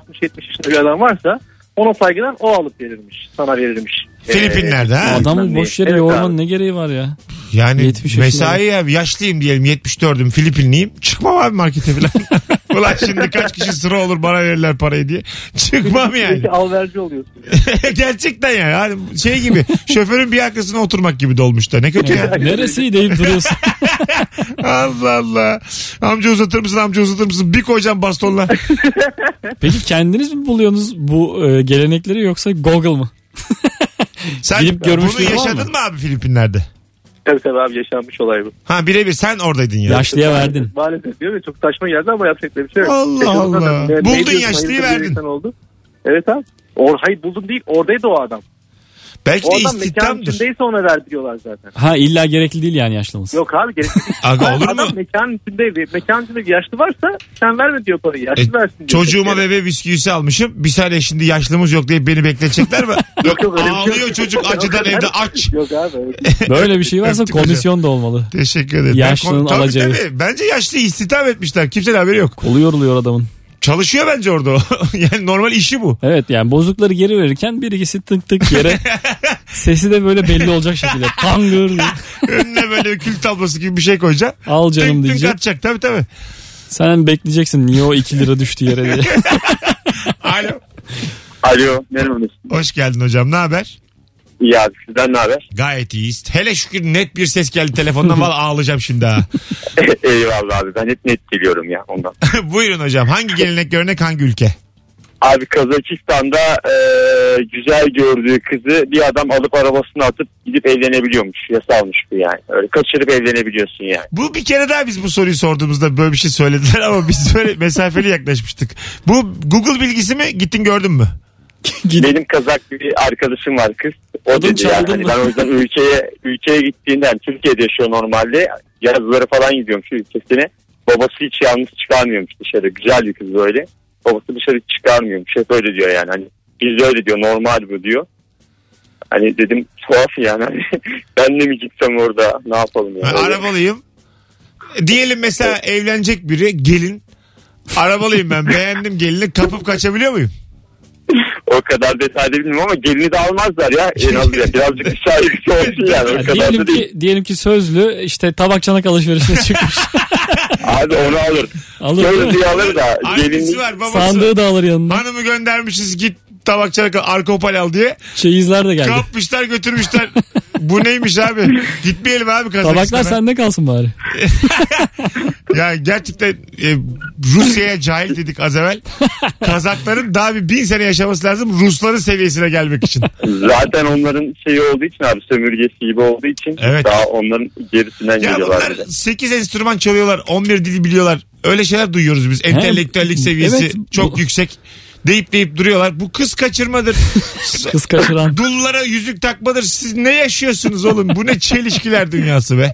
yaşında bir adam varsa ona saygıdan o alıp verilmiş. Sana verilmiş.
e,
Filipinler'de ha?
Adamı boş yere
Evet
yormanın
abi.
ne gereği var ya?
Yani
70 yaşında.
mesai ya yaşlıyım diyelim 74'üm Filipinliyim. Çıkmam abi markete falan.
*laughs*
Ulan şimdi kaç kişi sıra olur bana verirler parayı diye. Çıkmam yani.
Peki alverci oluyorsun.
*laughs* Gerçekten yani. Hani şey gibi şoförün bir arkasına oturmak gibi dolmuş da. Ne
*laughs*
kötü ya.
Neresi deyip duruyorsun.
Allah Allah. Amca uzatır mısın amca uzatır mısın? Bir koyacağım bastonla.
Peki kendiniz mi buluyorsunuz bu e, gelenekleri yoksa Google mı?
Sen
Gidip
bunu
görmüşlüğün var
yaşadın
mı?
mı abi Filipinler'de?
Tabii tabii abi yaşanmış olay bu.
Ha birebir sen oradaydın ya.
Yaşlıya verdin.
Maalesef diyor ve çok saçma geldi ama yapacak da bir şey yok.
Allah
Şey, o zaman
Allah.
ne- ne
Buldun
diyorsun,
yaşlıyı
hayırdır bir
verdin.
insan Oldu. Evet abi. Or, hayır buldum değil oradaydı o adam.
Belki
O
de
adam mekanın
istihdamdır.
içindeyse ona ver diyorlar zaten.
Ha illa gerekli değil yani yaşlımız.
Yok abi gerek yok.
*laughs* Aga olur mu?
Adam mekanın içindeydi. Mekanın içinde bir yaşlı varsa sen verme diyor parayı. Yaşlı
E,
versin diyor.
Çocuğuma
Yani
bebe bisküvisi almışım. Bir saniye şimdi yaşlımız yok diye beni bekletecekler mi?
*laughs*
yok,
yok, öyle bir şey
ağlıyor
yok.
çocuk acıdan evde aç.
Yok abi. öyle bir
Böyle bir şey varsa
Öptük hocam.
komisyon da olmalı.
Teşekkür ederim. Ben
Yaşlının
kon- tabii,
alacağı.
tabii. Bence yaşlı istihdam etmişler. Kimsenin haberi yok.
Kolu yoruluyor adamın.
Çalışıyor bence orada o. *laughs* yani normal işi bu.
Evet yani bozukları geri verirken bir ikisi tık tık
*laughs*
yere sesi de böyle belli olacak şekilde tangır diye.
Önüne böyle kül tablosu gibi bir şey koyacak.
al canım
Tınk tınk
diyecek.
atacak tabii tabii.
Sen bekleyeceksin niye o 2 lira düştü yere diye.
Alo.
Alo. Merhaba Mesut.
Hoş geldin hocam ne haber?
İyi abi sizden ne haber?
Gayet iyiyiz. Hele şükür net bir ses geldi telefondan. Valla ağlayacağım şimdi
*laughs*
ha.
*laughs*
Eyvallah abi ben hep net geliyorum ya ondan.
Buyurun hocam. Hangi gelenek görenek hangi ülke?
Abi Kazakistan'da e, güzel gördüğü kızı bir adam alıp arabasına atıp gidip evlenebiliyormuş. Yasalmış bu yani. Öyle kaçırıp evlenebiliyorsun yani.
Bu bir kere daha biz bu soruyu sorduğumuzda böyle bir şey söylediler ama biz böyle mesafeli yaklaşmıştık. Bu Google bilgisi mi? Gittin gördün mü?
*laughs* Benim Kazak bir arkadaşım var kız. O
Kadın
dedi yani
çaldın
hani
mı?
ben o yüzden ülkeye ülkeye gittiğinden Türkiye'de yaşıyor normalde. Yazları falan gidiyormuş ülkesine. Babası hiç yalnız çıkarmıyormuş dışarı. Güzel bir kız böyle. Babası dışarı çıkarmıyormuş. Hep öyle diyor yani. Hani biz de öyle diyor. Normal bu diyor. Hani dedim tuhaf
*laughs*
yani. Hani ben de mi gitsem orada ne yapalım
Ben
yani.
Ee, arabalıyım. Diyelim mesela evlenecek biri gelin. Arabalıyım ben beğendim gelini kapıp kaçabiliyor muyum?
O kadar detaylı bilmiyorum ama gelini de almazlar ya. En az birazcık bir
*laughs*
şahit olsun yani. *laughs* O
Ya
kadar
diyelim
da değil.
ki diyelim ki sözlü işte tabak çanak alışverişine
*laughs*
çıkmış.
Abi onu alır.
Alır değil mi?
Şöyle diye alır da
Annesi
gelinlik
var babası.
Sandığı da alır yanına.
Hanımı göndermişiz git tabakçılık alkopal al diye.
Çeyizler de geldi.
Kapmışlar götürmüşler. Bu neymiş abi? Gitmeyelim abi Kazakistan'a.
Tabaklar sende kalsın bari.
Ya gerçekten e, Rusya'ya cahil dedik az evvel.
*laughs*
Kazakların daha bir bin sene yaşaması lazım Rusların seviyesine gelmek için.
Zaten onların şeyi olduğu için abi sömürgesi gibi olduğu için
Evet.
daha onların gerisinden
Ya
geliyorlar.
bunlar
bir de.
8 enstrüman çalıyorlar, 11 dili biliyorlar. Öyle şeyler duyuyoruz biz. Entelektüellik seviyesi
Evet, bu-
çok yüksek. Deyip deyip duruyorlar. Bu kız kaçırmadır.
Kız kaçıran.
Dullara yüzük takmadır. Siz ne yaşıyorsunuz oğlum? Bu ne çelişkiler dünyası be.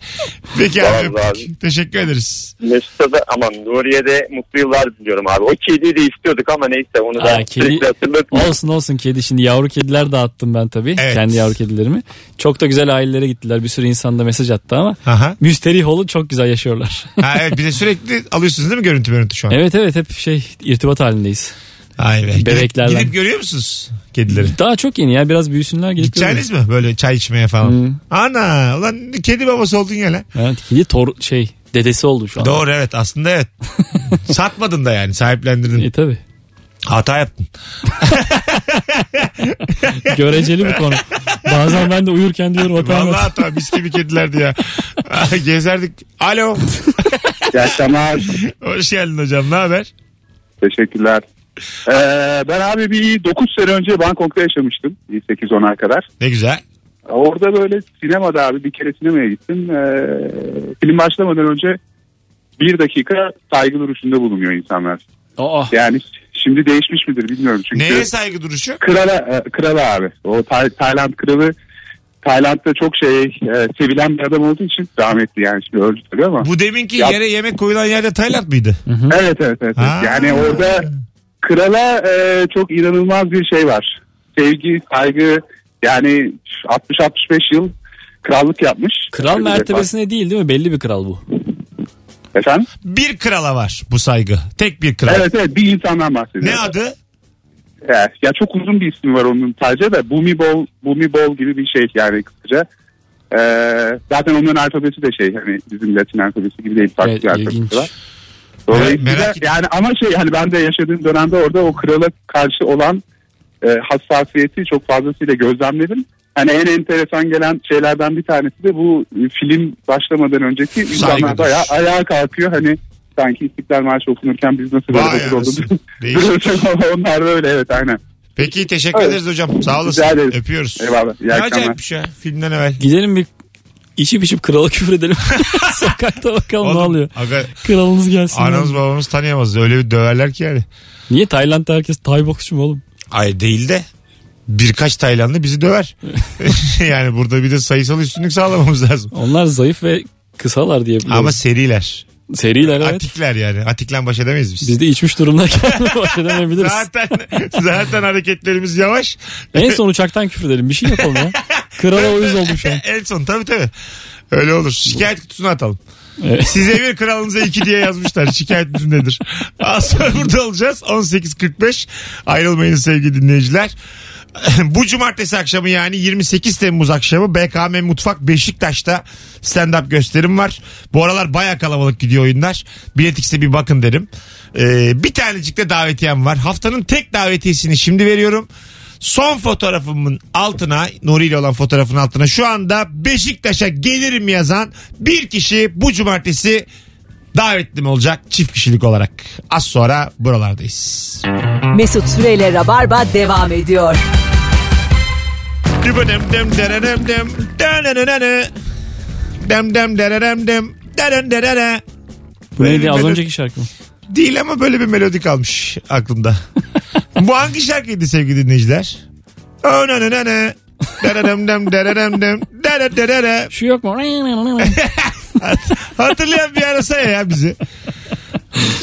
Peki abi,
Vallahi
öptük. Teşekkür ederiz.
Mesut'a da aman Nuriye de mutlu yıllar diliyorum abi. O kediyi de istiyorduk ama neyse onu da
Aa, kedi-
sürekli hatırlatmıyorum.
Olsun olsun kedi şimdi yavru kediler dağıttım ben tabii.
Evet.
Kendi yavru kedilerimi. Çok da güzel ailelere gittiler. Bir sürü insan da mesaj attı ama.
Aha.
Müsterih olun çok güzel yaşıyorlar. *laughs*
Ha, evet, bir de sürekli alıyorsunuz değil mi görüntü görüntü şu an?
evet evet hep şey irtibat halindeyiz.
Ay be. Gidip-
Bebeklerden.
Gidip, görüyor musunuz kedileri?
Daha çok yeni ya biraz büyüsünler gelip
Gideceğiniz mi böyle çay içmeye falan?
Hmm.
Ana ulan kedi babası oldun ya lan.
görürüz. Evet kedi tor şey dedesi oldu şu an.
Doğru evet
*laughs*
aslında evet. Satmadın da yani sahiplendirdin.
E tabi.
Hata yaptın.
Göreceli bir konu. Bazen ben de uyurken diyorum
Vallahi
hata
hata biz gibi kedilerdi
*laughs*
ya. *laughs* Gezerdik. Alo.
İyi akşamlar.
Hoş geldin hocam ne haber?
Teşekkürler. Ee, ben abi bir 9 sene önce Bangkok'ta yaşamıştım. 8-10'a kadar.
Ne güzel.
Orada böyle sinemada abi bir kere sinemaya gittim. Ee, film başlamadan önce bir dakika saygı duruşunda bulunuyor insanlar.
Aa,
Yani şimdi değişmiş midir bilmiyorum çünkü.
Neye saygı duruşu?
Krala, e, krala abi. O Tay- Tayland kralı Tayland'da çok şey e, sevilen bir adam olduğu için rahmetli yani şimdi öldü tabii ama.
Bu deminki
Ya-
yere yemek koyulan yerde Tayland mıydı?
Evet evet evet.
Ha.
Yani orada krala e, çok inanılmaz bir şey var. Sevgi, saygı yani 60-65 yıl krallık yapmış.
kral
Bir defa.
mertebesine değil değil mi? Belli bir kral bu.
Efendim?
Bir krala var bu saygı. Tek bir kral.
Evet evet bir insandan bahsediyorum.
Ne adı?
Evet, ya çok uzun bir isim var onun sadece de Bumi Bol, Bumi Bol gibi bir şey yani kısaca. E, zaten onların alfabesi de şey hani bizim Latin alfabesi gibi değil farklı
Evet,
bir
ilginç.
alfabesi var.
Evet,
Dolayısıyla
merak ettim.
yani ama şey hani ben de yaşadığım dönemde orada o krala karşı olan e, hassasiyeti çok fazlasıyla gözlemledim. Hani en enteresan gelen şeylerden bir tanesi de bu e, film başlamadan önceki insanlar
Saygıdır.
bayağı ayağa kalkıyor hani sanki İstiklal Marşı okunurken biz nasıl
Vay
böyle hazır
anasını.
*laughs* olduk.
Değişik.
Duruyoruz ama *laughs* Onlar da öyle evet aynen.
Peki teşekkür
Evet.
ederiz hocam. Sağ olasın.
Rica ederiz.
Öpüyoruz.
Eyvallah. İyi
Ne
akşamlar.
acayip bir şey. Filmden evvel.
Gidelim bir içip içip krala küfür edelim. *laughs* Sokakta bakalım ne
Oğlum,
oluyor.
Aga,
Kralınız gelsin.
anamız babamız tanıyamaz. Öyle bir döverler ki yani.
Niye Tayland'da herkes Tay boksçu mu oğlum?
Ay değil de birkaç Taylandlı
*laughs*
bizi döver. yani burada bir de sayısal üstünlük sağlamamız lazım.
Onlar zayıf ve kısalar diye biliyorum.
Ama seriler.
seriler evet.
Atikler yani. Atiklen baş edemeyiz biz.
Biz de içmiş
*laughs*
durumdayken baş edemeyebiliriz.
Zaten zaten hareketlerimiz yavaş.
En son uçaktan küfür edelim. Bir şey yapalım ya. Krala uyuz oldum şu an.
*laughs* En son tabii tabii. Öyle olur. Şikayet kutusuna atalım.
Evet.
Size bir kralınıza iki diye yazmışlar. Şikayetiniz nedir? Az sonra burada olacağız. 18.45. Ayrılmayın sevgili dinleyiciler. *laughs* Bu cumartesi akşamı yani 28 Temmuz akşamı BKM Mutfak Beşiktaş'ta stand-up gösterim var. Bu aralar baya kalabalık gidiyor oyunlar. Biletix'e bir bakın derim. Ee, bir tanecik de davetiyem var. Haftanın tek davetiyesini şimdi veriyorum. Son fotoğrafımın altına Nuri ile olan fotoğrafın altına şu anda Beşiktaş'a gelirim yazan bir kişi bu cumartesi davetlim olacak çift kişilik olarak. Az sonra buralardayız.
Mesut Süreyle Rabarba devam ediyor.
Dübönem dem derenem dem denenenene. Dem dem derenem dem deren derene.
Bu
Böyle bir
neydi az
melodi-
önceki şarkı mı?
Değil ama böyle bir melodi kalmış
*laughs*
aklımda. Bu hangi şarkıydı sevgili dinleyiciler? Önenenene. Derenem dem derenem dem dere derere.
Şu yok mu? *laughs*
Hatırlayan bir arasa ya bizi.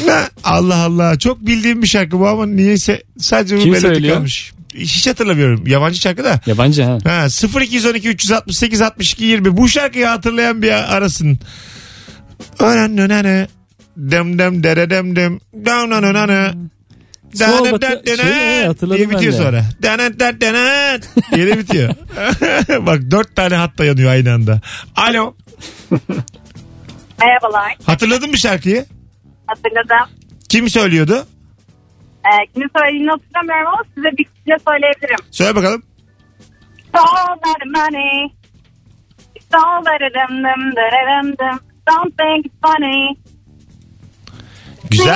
Ha, Allah Allah çok bildiğim bir şarkı bu ama niyeyse sadece bu
Kim
melodi
söylüyor?
kalmış. Hiç hatırlamıyorum. Yabancı şarkı da.
Yabancı ha.
Ha, 0212 368 62 20 bu şarkıyı hatırlayan bir arasın. Öğrenönene. Dem dem dere dem dem. Dam nan nan nan.
Hmm. Sol batı- şey, evet, hatırladım
diye
ben
bitiyor
de.
sonra. Dana dana dana diye de bitiyor. *laughs* Bak dört tane hat dayanıyor aynı anda. Alo.
Merhabalar.
Hatırladın mı şarkıyı?
Hatırladım.
Kim söylüyordu?
Ee, kimin söylediğini hatırlamıyorum ama size bir kişiyle söyleyebilirim.
Söyle bakalım.
It's all that money. It's all that dım dım hani. dırırım hani. dım. Don't think it's funny.
Güzel.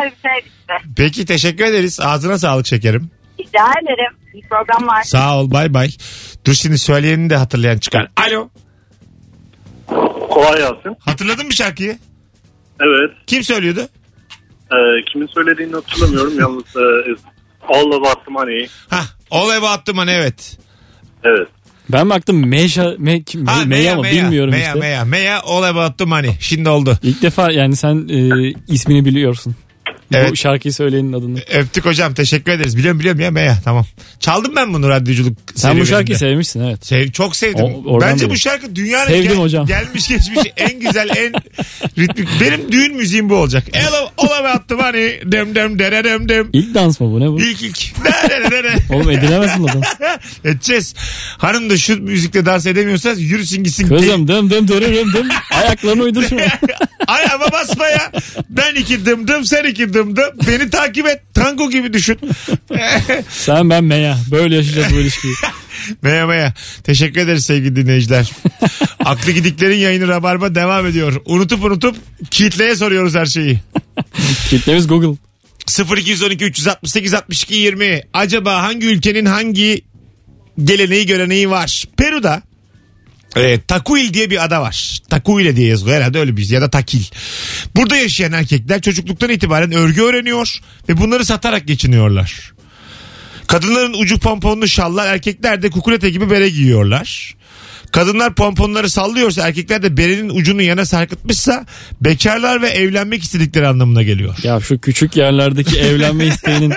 Öyle bir şey işte.
Peki teşekkür ederiz. Ağzına sağlık şekerim.
Rica ederim. İyi programlar.
Sağ ol bay bay. Dur şimdi söyleyenini de hatırlayan çıkar. Alo.
Kolay gelsin.
Hatırladın mı şarkıyı?
Evet.
Kim söylüyordu?
E, kimin söylediğini *laughs* hatırlamıyorum. Yalnız e, All About The Money.
Ha, All About The Money evet.
Evet.
Ben baktım Meja, me, kim,
Ha,
Meya mı bilmiyorum
Meya,
işte.
Meya, Meya All About The Money. Şimdi oldu.
İlk defa yani sen e, ismini biliyorsun.
Evet.
Bu şarkıyı söyleyenin adını.
Öptük hocam teşekkür ederiz. Biliyorum biliyorum ya Meya tamam. Çaldım ben bunu radyoculuk
Sen bu
serüveninde.
şarkıyı sevmişsin evet.
Sev- çok sevdim.
O- oradan
Bence bu
biliyorum.
şarkı dünyanın
Sevdim hocam. *laughs*
gelmiş geçmiş en güzel en ritmik. Benim düğün müziğim bu olacak. Hello all about the money. Dem dem dere dem dem.
İlk dans mı bu ne bu?
İlk ilk. *laughs* Dere dere dere.
Oğlum edilemez mi bu
*laughs*
dans?
Edeceğiz. Hanım da şu müzikle dans edemiyorsanız yürüsün gitsin.
Kızım dım dım dırırım dım. Ayaklarını uydur
*laughs*
şuna.
Ayağıma basma ya. Ben iki dımdım sen iki dımdım. Beni takip et. Tango gibi düşün.
Sen ben Meya. Böyle yaşayacağız bu ilişkiyi.
Maya maya. Teşekkür ederiz sevgili dinleyiciler. Aklı gidiklerin yayını Rabarba devam ediyor. Unutup unutup kitleye soruyoruz her şeyi.
Kitlemiz Google.
0212 368 62 20. Acaba hangi ülkenin hangi geleneği göreneği var? Peru'da e, Takuil diye bir ada var. Takuile diye yazılıyor herhalde öyle bir şey. ya da Takil. Burada yaşayan erkekler çocukluktan itibaren örgü öğreniyor ve bunları satarak geçiniyorlar. Kadınların ucu pomponlu şallar, erkekler de kukulete gibi bere giyiyorlar. Kadınlar pomponları sallıyorsa erkekler de berenin ucunu yana sarkıtmışsa bekarlar ve evlenmek istedikleri anlamına geliyor.
Ya şu küçük yerlerdeki *laughs* evlenme isteğinin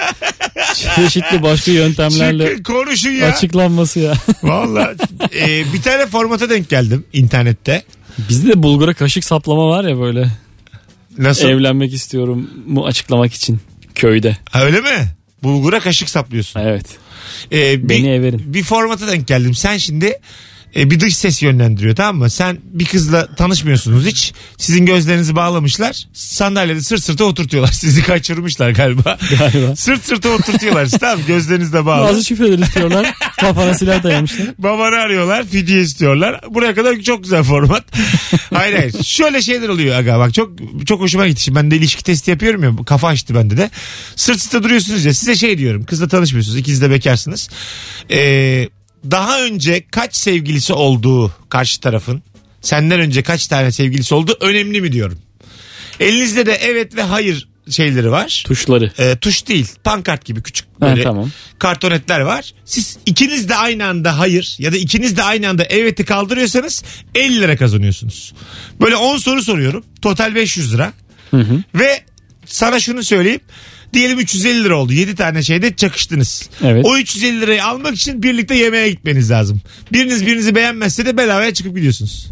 çeşitli başka yöntemlerle
Çıkın konuşun ya. *laughs*
açıklanması ya.
Valla. Ee, bir tane formata denk geldim internette.
*laughs* Bizde de bulgura kaşık saplama var ya böyle.
Nasıl?
Evlenmek istiyorum mu açıklamak için köyde.
Ha, öyle mi? Bulgura kaşık saplıyorsun.
Evet.
Ee,
*laughs*
bir,
Beni everin.
Bir formata denk geldim. Sen şimdi e, bir dış ses yönlendiriyor tamam mı? Sen bir kızla tanışmıyorsunuz hiç. Sizin gözlerinizi bağlamışlar. Sandalyede sırt sırta oturtuyorlar. *laughs* Sizi
*laughs*
kaçırmışlar galiba.
Galiba.
sırt sırta oturtuyorlar. tamam gözleriniz de bağlı.
Bazı şifreler istiyorlar. Kafana silah dayamışlar.
Babanı arıyorlar fidye istiyorlar. Buraya kadar çok güzel format. hayır hayır. Şöyle şeyler oluyor aga bak çok çok hoşuma gitti. Şimdi ben de ilişki testi yapıyorum ya bu kafa açtı bende de. Sırt sırta duruyorsunuz ya size şey diyorum kızla tanışmıyorsunuz ikiniz de bekarsınız. Ee, daha önce kaç sevgilisi olduğu karşı tarafın senden önce kaç tane sevgilisi olduğu önemli mi diyorum. Elinizde de evet ve hayır şeyleri var.
Tuşları.
Ee, tuş değil pankart gibi küçük
Ha,
böyle
tamam.
kartonetler var. Siz ikiniz de aynı anda hayır ya da ikiniz de aynı anda evet'i kaldırıyorsanız 50 lira kazanıyorsunuz. Böyle 10 soru soruyorum. Total 500 lira. Ve sana şunu söyleyeyim. Diyelim 350 lira oldu. 7 tane şeyde çakıştınız.
Evet.
O 350 lirayı almak için birlikte yemeğe gitmeniz lazım. Biriniz birinizi beğenmezse de bedavaya çıkıp gidiyorsunuz.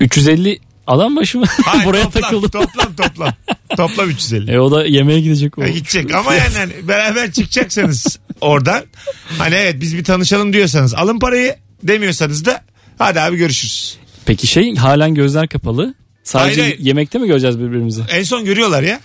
350 adam başı mı? *laughs* *laughs*
Hayır,
Buraya
toplam,
takıldım.
Toplam
*laughs*
toplam. toplam 350.
E o da yemeğe gidecek o.
Ya gidecek ama yani hani
*laughs*
beraber çıkacaksanız oradan hani evet biz bir tanışalım diyorsanız alın parayı demiyorsanız da hadi abi görüşürüz.
Peki şey halen gözler kapalı. Sadece
Hayır, hayır.
yemekte mi göreceğiz birbirimizi?
En son görüyorlar ya.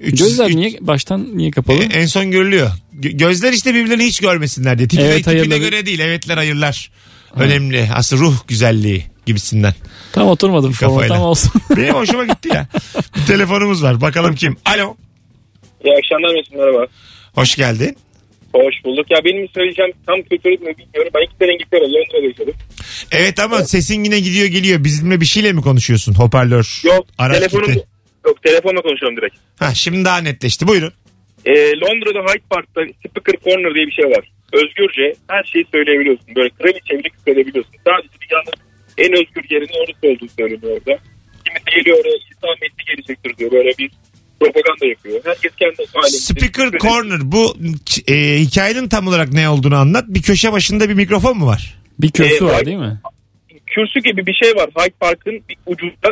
Üç-
Gözler
üç-
niye baştan niye
E,
kapalı?
en son görülüyor. Gö- Gözler işte birbirlerini hiç görmesinler diye. Tipine,
Evet,
tipine
hayırları.
göre değil. Evetler hayırlar. Önemli. Asıl ruh güzelliği gibisinden.
Tam oturmadım format
Kafayla.
ama olsun. *laughs*
Benim hoşuma gitti ya. Bir telefonumuz var. Bakalım kim? Alo.
İyi akşamlar Mesut merhaba.
Hoş geldin.
Hoş bulduk. Ya benim söyleyeceğim tam kültürü mü bilmiyorum. Ben iki sene İngiltere, Londra'da yaşadım.
Evet ama sesin yine gidiyor geliyor. Bizimle bir şeyle mi konuşuyorsun? Hoparlör.
Yok
Araç
telefonum
gitti.
yok telefonla konuşuyorum direkt.
Ha, şimdi daha netleşti. Buyurun.
Ee, Londra'da Hyde Park'ta Speaker Corner diye bir şey var. Özgürce her şeyi söyleyebiliyorsun. Böyle kraliçe bile kıskırabiliyorsun. Sadece dünyanın en özgür yerinin orası olduğu söyleniyor orada. Kimisi geliyor oraya İslam metni geri çektiriyor. Böyle bir propaganda yapıyor. Herkes kendi aleminde.
Speaker Corner bu e, hikayenin tam olarak ne olduğunu anlat. Bir köşe başında bir mikrofon mu var?
Bir kürsü
Ee,
var değil mi?
kürsü gibi bir şey var Hyde Park'ın bir ucunda.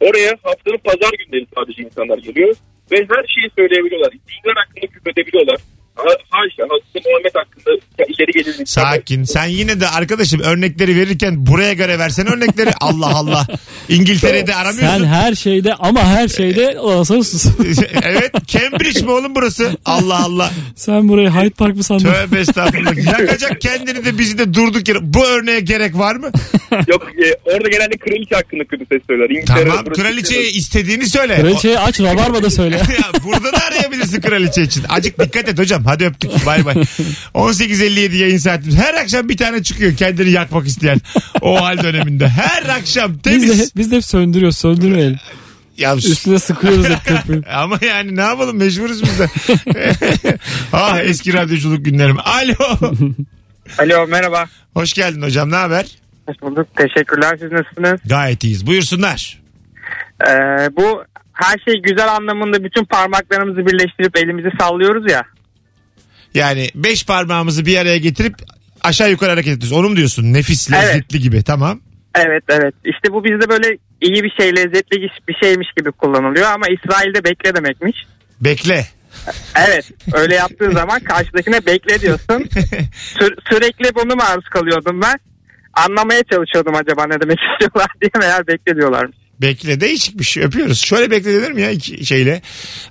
Oraya haftanın pazar günleri sadece insanlar geliyor. Ve her şeyi söyleyebiliyorlar. Dinler hakkında küfredebiliyorlar. Ha- Haşa, Hazreti Muhammed hakkında ya ileri gelir.
Sakin. Sen yine de arkadaşım örnekleri verirken buraya göre
*laughs*
versen örnekleri. Allah Allah. İngiltere'de
Sen
aramıyorsun.
her şeyde ama her şeyde olsan sus. *laughs*
*laughs* evet. Cambridge mi oğlum burası? Allah Allah.
Sen burayı Hyde Park mı sandın?
Tövbe estağfurullah. Yakacak kendini de bizi de durduk yere. Bu örneğe gerek var mı?
Yok e, orada genelde kraliçe hakkında kötü ses söyler. İngiltere,
Tamam.
burası-
Kraliçeye istediğini söyle.
Kraliçeyi şey, aç rabarba da söyle.
O- Ya burada da arayabilirsin kraliçe için. Acık dikkat et hocam. Hadi öptük. Bay bay. 18.57 yayın saatimiz. Her akşam bir tane çıkıyor kendini yakmak isteyen. O hal döneminde. Her akşam
Biz de,
temiz.
biz de hep söndürüyoruz söndürmeyelim.
Ya
Üstüne sıkıyoruz hep köpüğü.
Ama yani ne yapalım mecburuz biz de. *laughs* ah eski radyoculuk günlerim. Alo.
Alo merhaba.
Hoş geldin hocam ne haber?
Hoş bulduk. Teşekkürler. Siz nasılsınız?
Gayet iyiyiz. Buyursunlar.
Ee, bu her şey güzel anlamında bütün parmaklarımızı birleştirip elimizi sallıyoruz ya.
Yani beş parmağımızı bir araya getirip aşağı yukarı hareket ediyoruz. Onu mu diyorsun? Nefis,
Evet.
lezzetli gibi. Tamam.
Evet evet. İşte bu bizde böyle iyi bir şey, lezzetli bir şeymiş gibi kullanılıyor ama İsrail'de bekle demekmiş.
Bekle. *laughs*
Evet. Öyle yaptığın zaman karşıdakine bekle diyorsun. Sü- sürekli bunu maruz kalıyordum ben. Anlamaya çalışıyordum acaba ne demek istiyorlar *laughs* diye meğer bekle diyorlarmış.
Bekle değişik bir şey öpüyoruz. Şöyle bekle denir mi ya iki şeyle?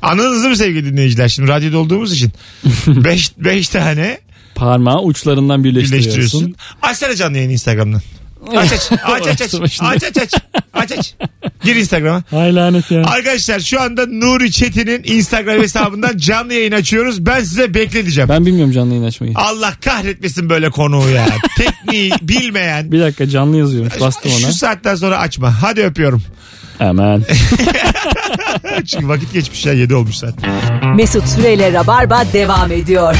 Anladınız değil mi sevgili dinleyiciler? Şimdi radyoda
*laughs*
olduğumuz için. beş, beş tane
Parmağı uçlarından birleştiriyorsun.
birleştiriyorsun. Açsana canlı yayını Instagram'dan. Aç
*laughs*
aç aç aç aç
Orası başında.
aç aç aç aç aç. Gir Instagram'a.
Hay lanet ya.
Arkadaşlar şu anda Nuri Çetin'in Instagram hesabından canlı yayın açıyoruz. Ben size bekleteceğim.
Ben bilmiyorum canlı yayın açmayı.
Allah kahretmesin böyle konuğu ya. Tekniği bilmeyen.
Bir dakika canlı yazıyormuş bastım ona.
Şu saatten sonra açma. Hadi öpüyorum. *laughs*
Hemen.
Çünkü vakit geçmiş ya 7 olmuş zaten.
Mesut Süreyle Rabarba devam ediyor.